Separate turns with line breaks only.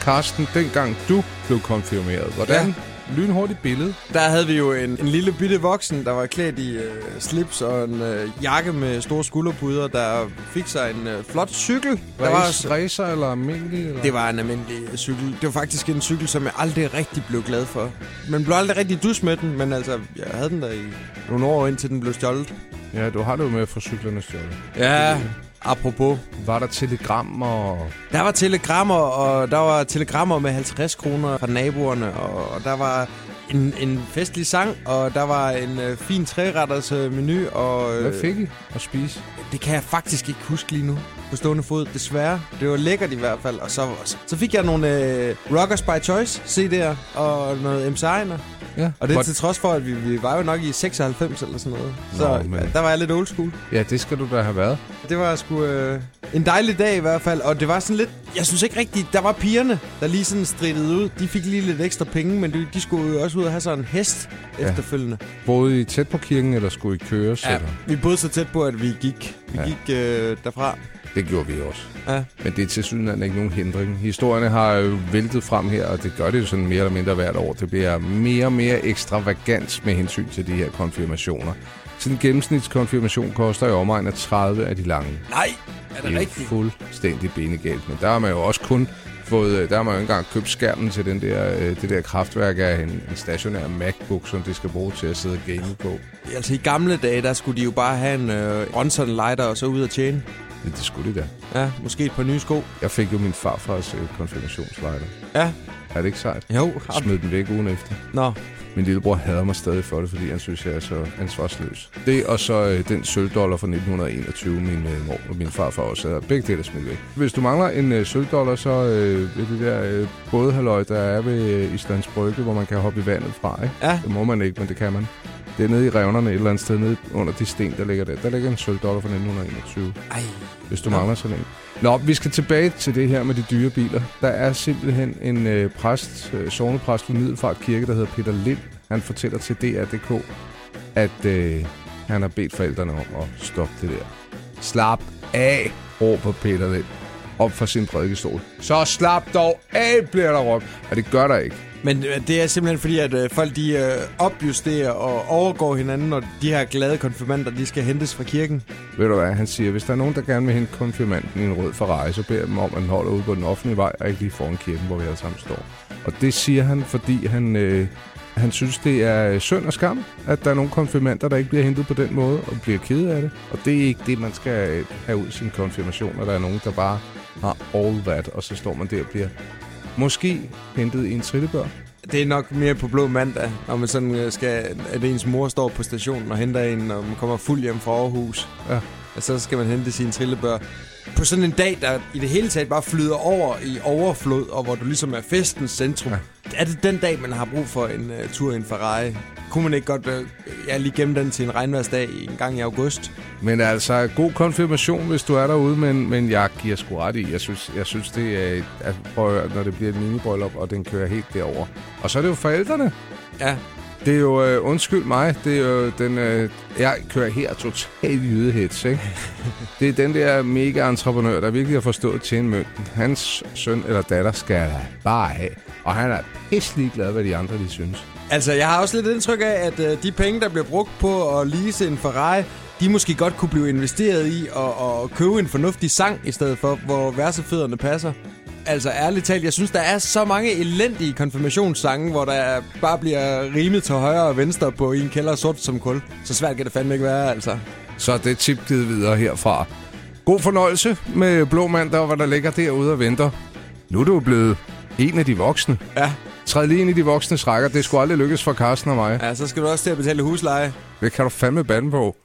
Karsten, dengang du blev konfirmeret, hvordan ja. lynhurtigt billede
Der havde vi jo en, en lille bitte voksen, der var klædt i øh, slips og en øh, jakke med store skulderpuder, der fik sig en øh, flot cykel. Der var
Race,
også,
racer eller almindelig? Eller?
det var en almindelig øh, cykel. Det var faktisk en cykel, som jeg aldrig rigtig blev glad for. Man blev aldrig rigtig dus med den, men altså, jeg havde den der i nogle år, indtil den blev stjålet.
Ja, du har det jo med at få cyklerne stjålet.
Ja, apropos.
Var der telegram og...
Der var telegrammer, og der var telegrammer med 50 kroner fra naboerne, og, og der var en, en festlig sang, og der var en øh, fin træretters øh, menu, og øh,
Hvad fik I at spise?
det kan jeg faktisk ikke huske lige nu på stående fod, desværre. Det var lækkert i hvert fald, og så, så, så fik jeg nogle øh, Rockers by Choice CD'er og noget MC'er.
Ja.
Og det er
Hvor-
til trods for, at vi, vi var jo nok i 96 eller sådan noget. Så
Nå, men-
der var jeg lidt old school.
Ja, det skal du da have været.
Det var sgu øh, en dejlig dag i hvert fald, og det var sådan lidt... Jeg synes ikke rigtigt, der var pigerne, der lige sådan strittede ud. De fik lige lidt ekstra penge, men de, de skulle jo også ud og have sådan en hest ja.
Ja.
efterfølgende.
Boede I tæt på kirken, eller skulle I køre? Ja.
vi boede så tæt på, at vi gik, vi
Ja.
ja. gik øh, derfra.
Det gjorde vi også.
Ja.
Men det er til synligheden ikke nogen hindring. Historierne har jo væltet frem her, og det gør det jo sådan mere eller mindre hvert år. Det bliver mere og mere ekstravagant med hensyn til de her konfirmationer. Sådan en gennemsnitskonfirmation koster i omegn af 30 af de lange.
Nej, er
Det er jo fuldstændig benegalt, men der har man jo også kun fået, øh, der har man jo ikke engang købt skærmen til den der, øh, det der kraftværk af en, en stationær MacBook, som det skal bruge til at sidde og game på.
Altså i gamle dage, der skulle de jo bare have en øh, Bronson lighter og så ud og tjene.
Men det skulle det da.
Ja, måske et par nye sko.
Jeg fik jo min farfars øh, konfirmationslejder.
Ja,
Er det ikke sejt?
jo.
Jeg smed den væk ugen efter.
Nå,
Min lillebror hader mig stadig for det, fordi han synes, jeg er så ansvarsløs. Det og så øh, den sølvdollar fra 1921, min øh, mor og min farfar også havde. Begge dele er smidt væk. Hvis du mangler en øh, sølvdollar, så øh, ved det der øh, bådhalløj, der er ved øh, Islands Brygge, hvor man kan hoppe i vandet fra. Ikke?
Ja.
Det må man ikke, men det kan man. Det er nede i revnerne et eller andet sted, nede under de sten, der ligger der. Der ligger en sølvdollar fra 1921
ej.
hvis du
Nå.
mangler sådan en. Nå, vi skal tilbage til det her med de dyre biler. Der er simpelthen en øh, præst, øh, sognepræst ved Middelfart Kirke, der hedder Peter Lind. Han fortæller til DR.dk, at øh, han har bedt forældrene om at stoppe det der. Slap af, råber Peter Lind op fra sin prædikestol. Så slap dog af, bliver der råbt. Og det gør der ikke.
Men øh, det er simpelthen fordi, at øh, folk de øh, opjusterer og overgår hinanden, når de her glade konfirmander, de skal hentes fra kirken.
Ved du hvad, han siger, hvis der er nogen, der gerne vil hente konfirmanden i en rød Ferrari, så beder jeg dem om, at den holder ude på den offentlige vej, og ikke lige foran kirken, hvor vi alle sammen står. Og det siger han, fordi han, øh, han synes, det er øh, synd og skam, at der er nogle konfirmander, der ikke bliver hentet på den måde, og bliver ked af det. Og det er ikke det, man skal øh, have ud i sin konfirmation, og der er nogen, der bare har all that, og så står man der og bliver måske hentet i en trillebør.
Det er nok mere på blå mandag, når man sådan øh, skal, at ens mor står på stationen og henter en, og man kommer fuld hjem fra Aarhus.
Ja.
Og så skal man hente sine trillebør. På sådan en dag, der i det hele taget bare flyder over i overflod, og hvor du ligesom er festens centrum.
Ja.
Ja. Er det den dag, man har brug for en uh, tur i en Ferrari? Kunne man ikke godt uh, ja, lige gemme den til en regnværsdag en gang i august?
Men altså, god konfirmation, hvis du er derude, men, men jeg giver sgu ret i. Jeg synes, jeg synes det er, et- at, prøv at høre, når det bliver et minibryllup, og den kører helt derover. Og så er det jo forældrene.
Ja,
Det er jo, øh, undskyld mig, det er jo den, øh, jeg kører her totalt jydehets, ikke? Det er den der mega entreprenør, der virkelig har forstået til en mønten. Hans søn eller datter skal bare have, og han er pisselig glad, hvad de andre de synes.
Altså, jeg har også lidt indtryk af, at øh, de penge, der bliver brugt på at lease en Ferrari, de måske godt kunne blive investeret i og, og købe en fornuftig sang i stedet for, hvor versefødderne passer. Altså, ærligt talt, jeg synes, der er så mange elendige konfirmationssange, hvor der bare bliver rimet til højre og venstre på i en kælder sort som kul. Så svært kan det fandme ikke være, altså.
Så er det tip givet videre herfra. God fornøjelse med Blå Mandag, og hvad der ligger derude og venter. Nu er du jo blevet en af de voksne.
Ja,
Træd lige ind i de voksne rækker. Det skulle aldrig lykkes for Carsten og mig.
ja så skal du også til at betale husleje.
Det kan du fandme bande på.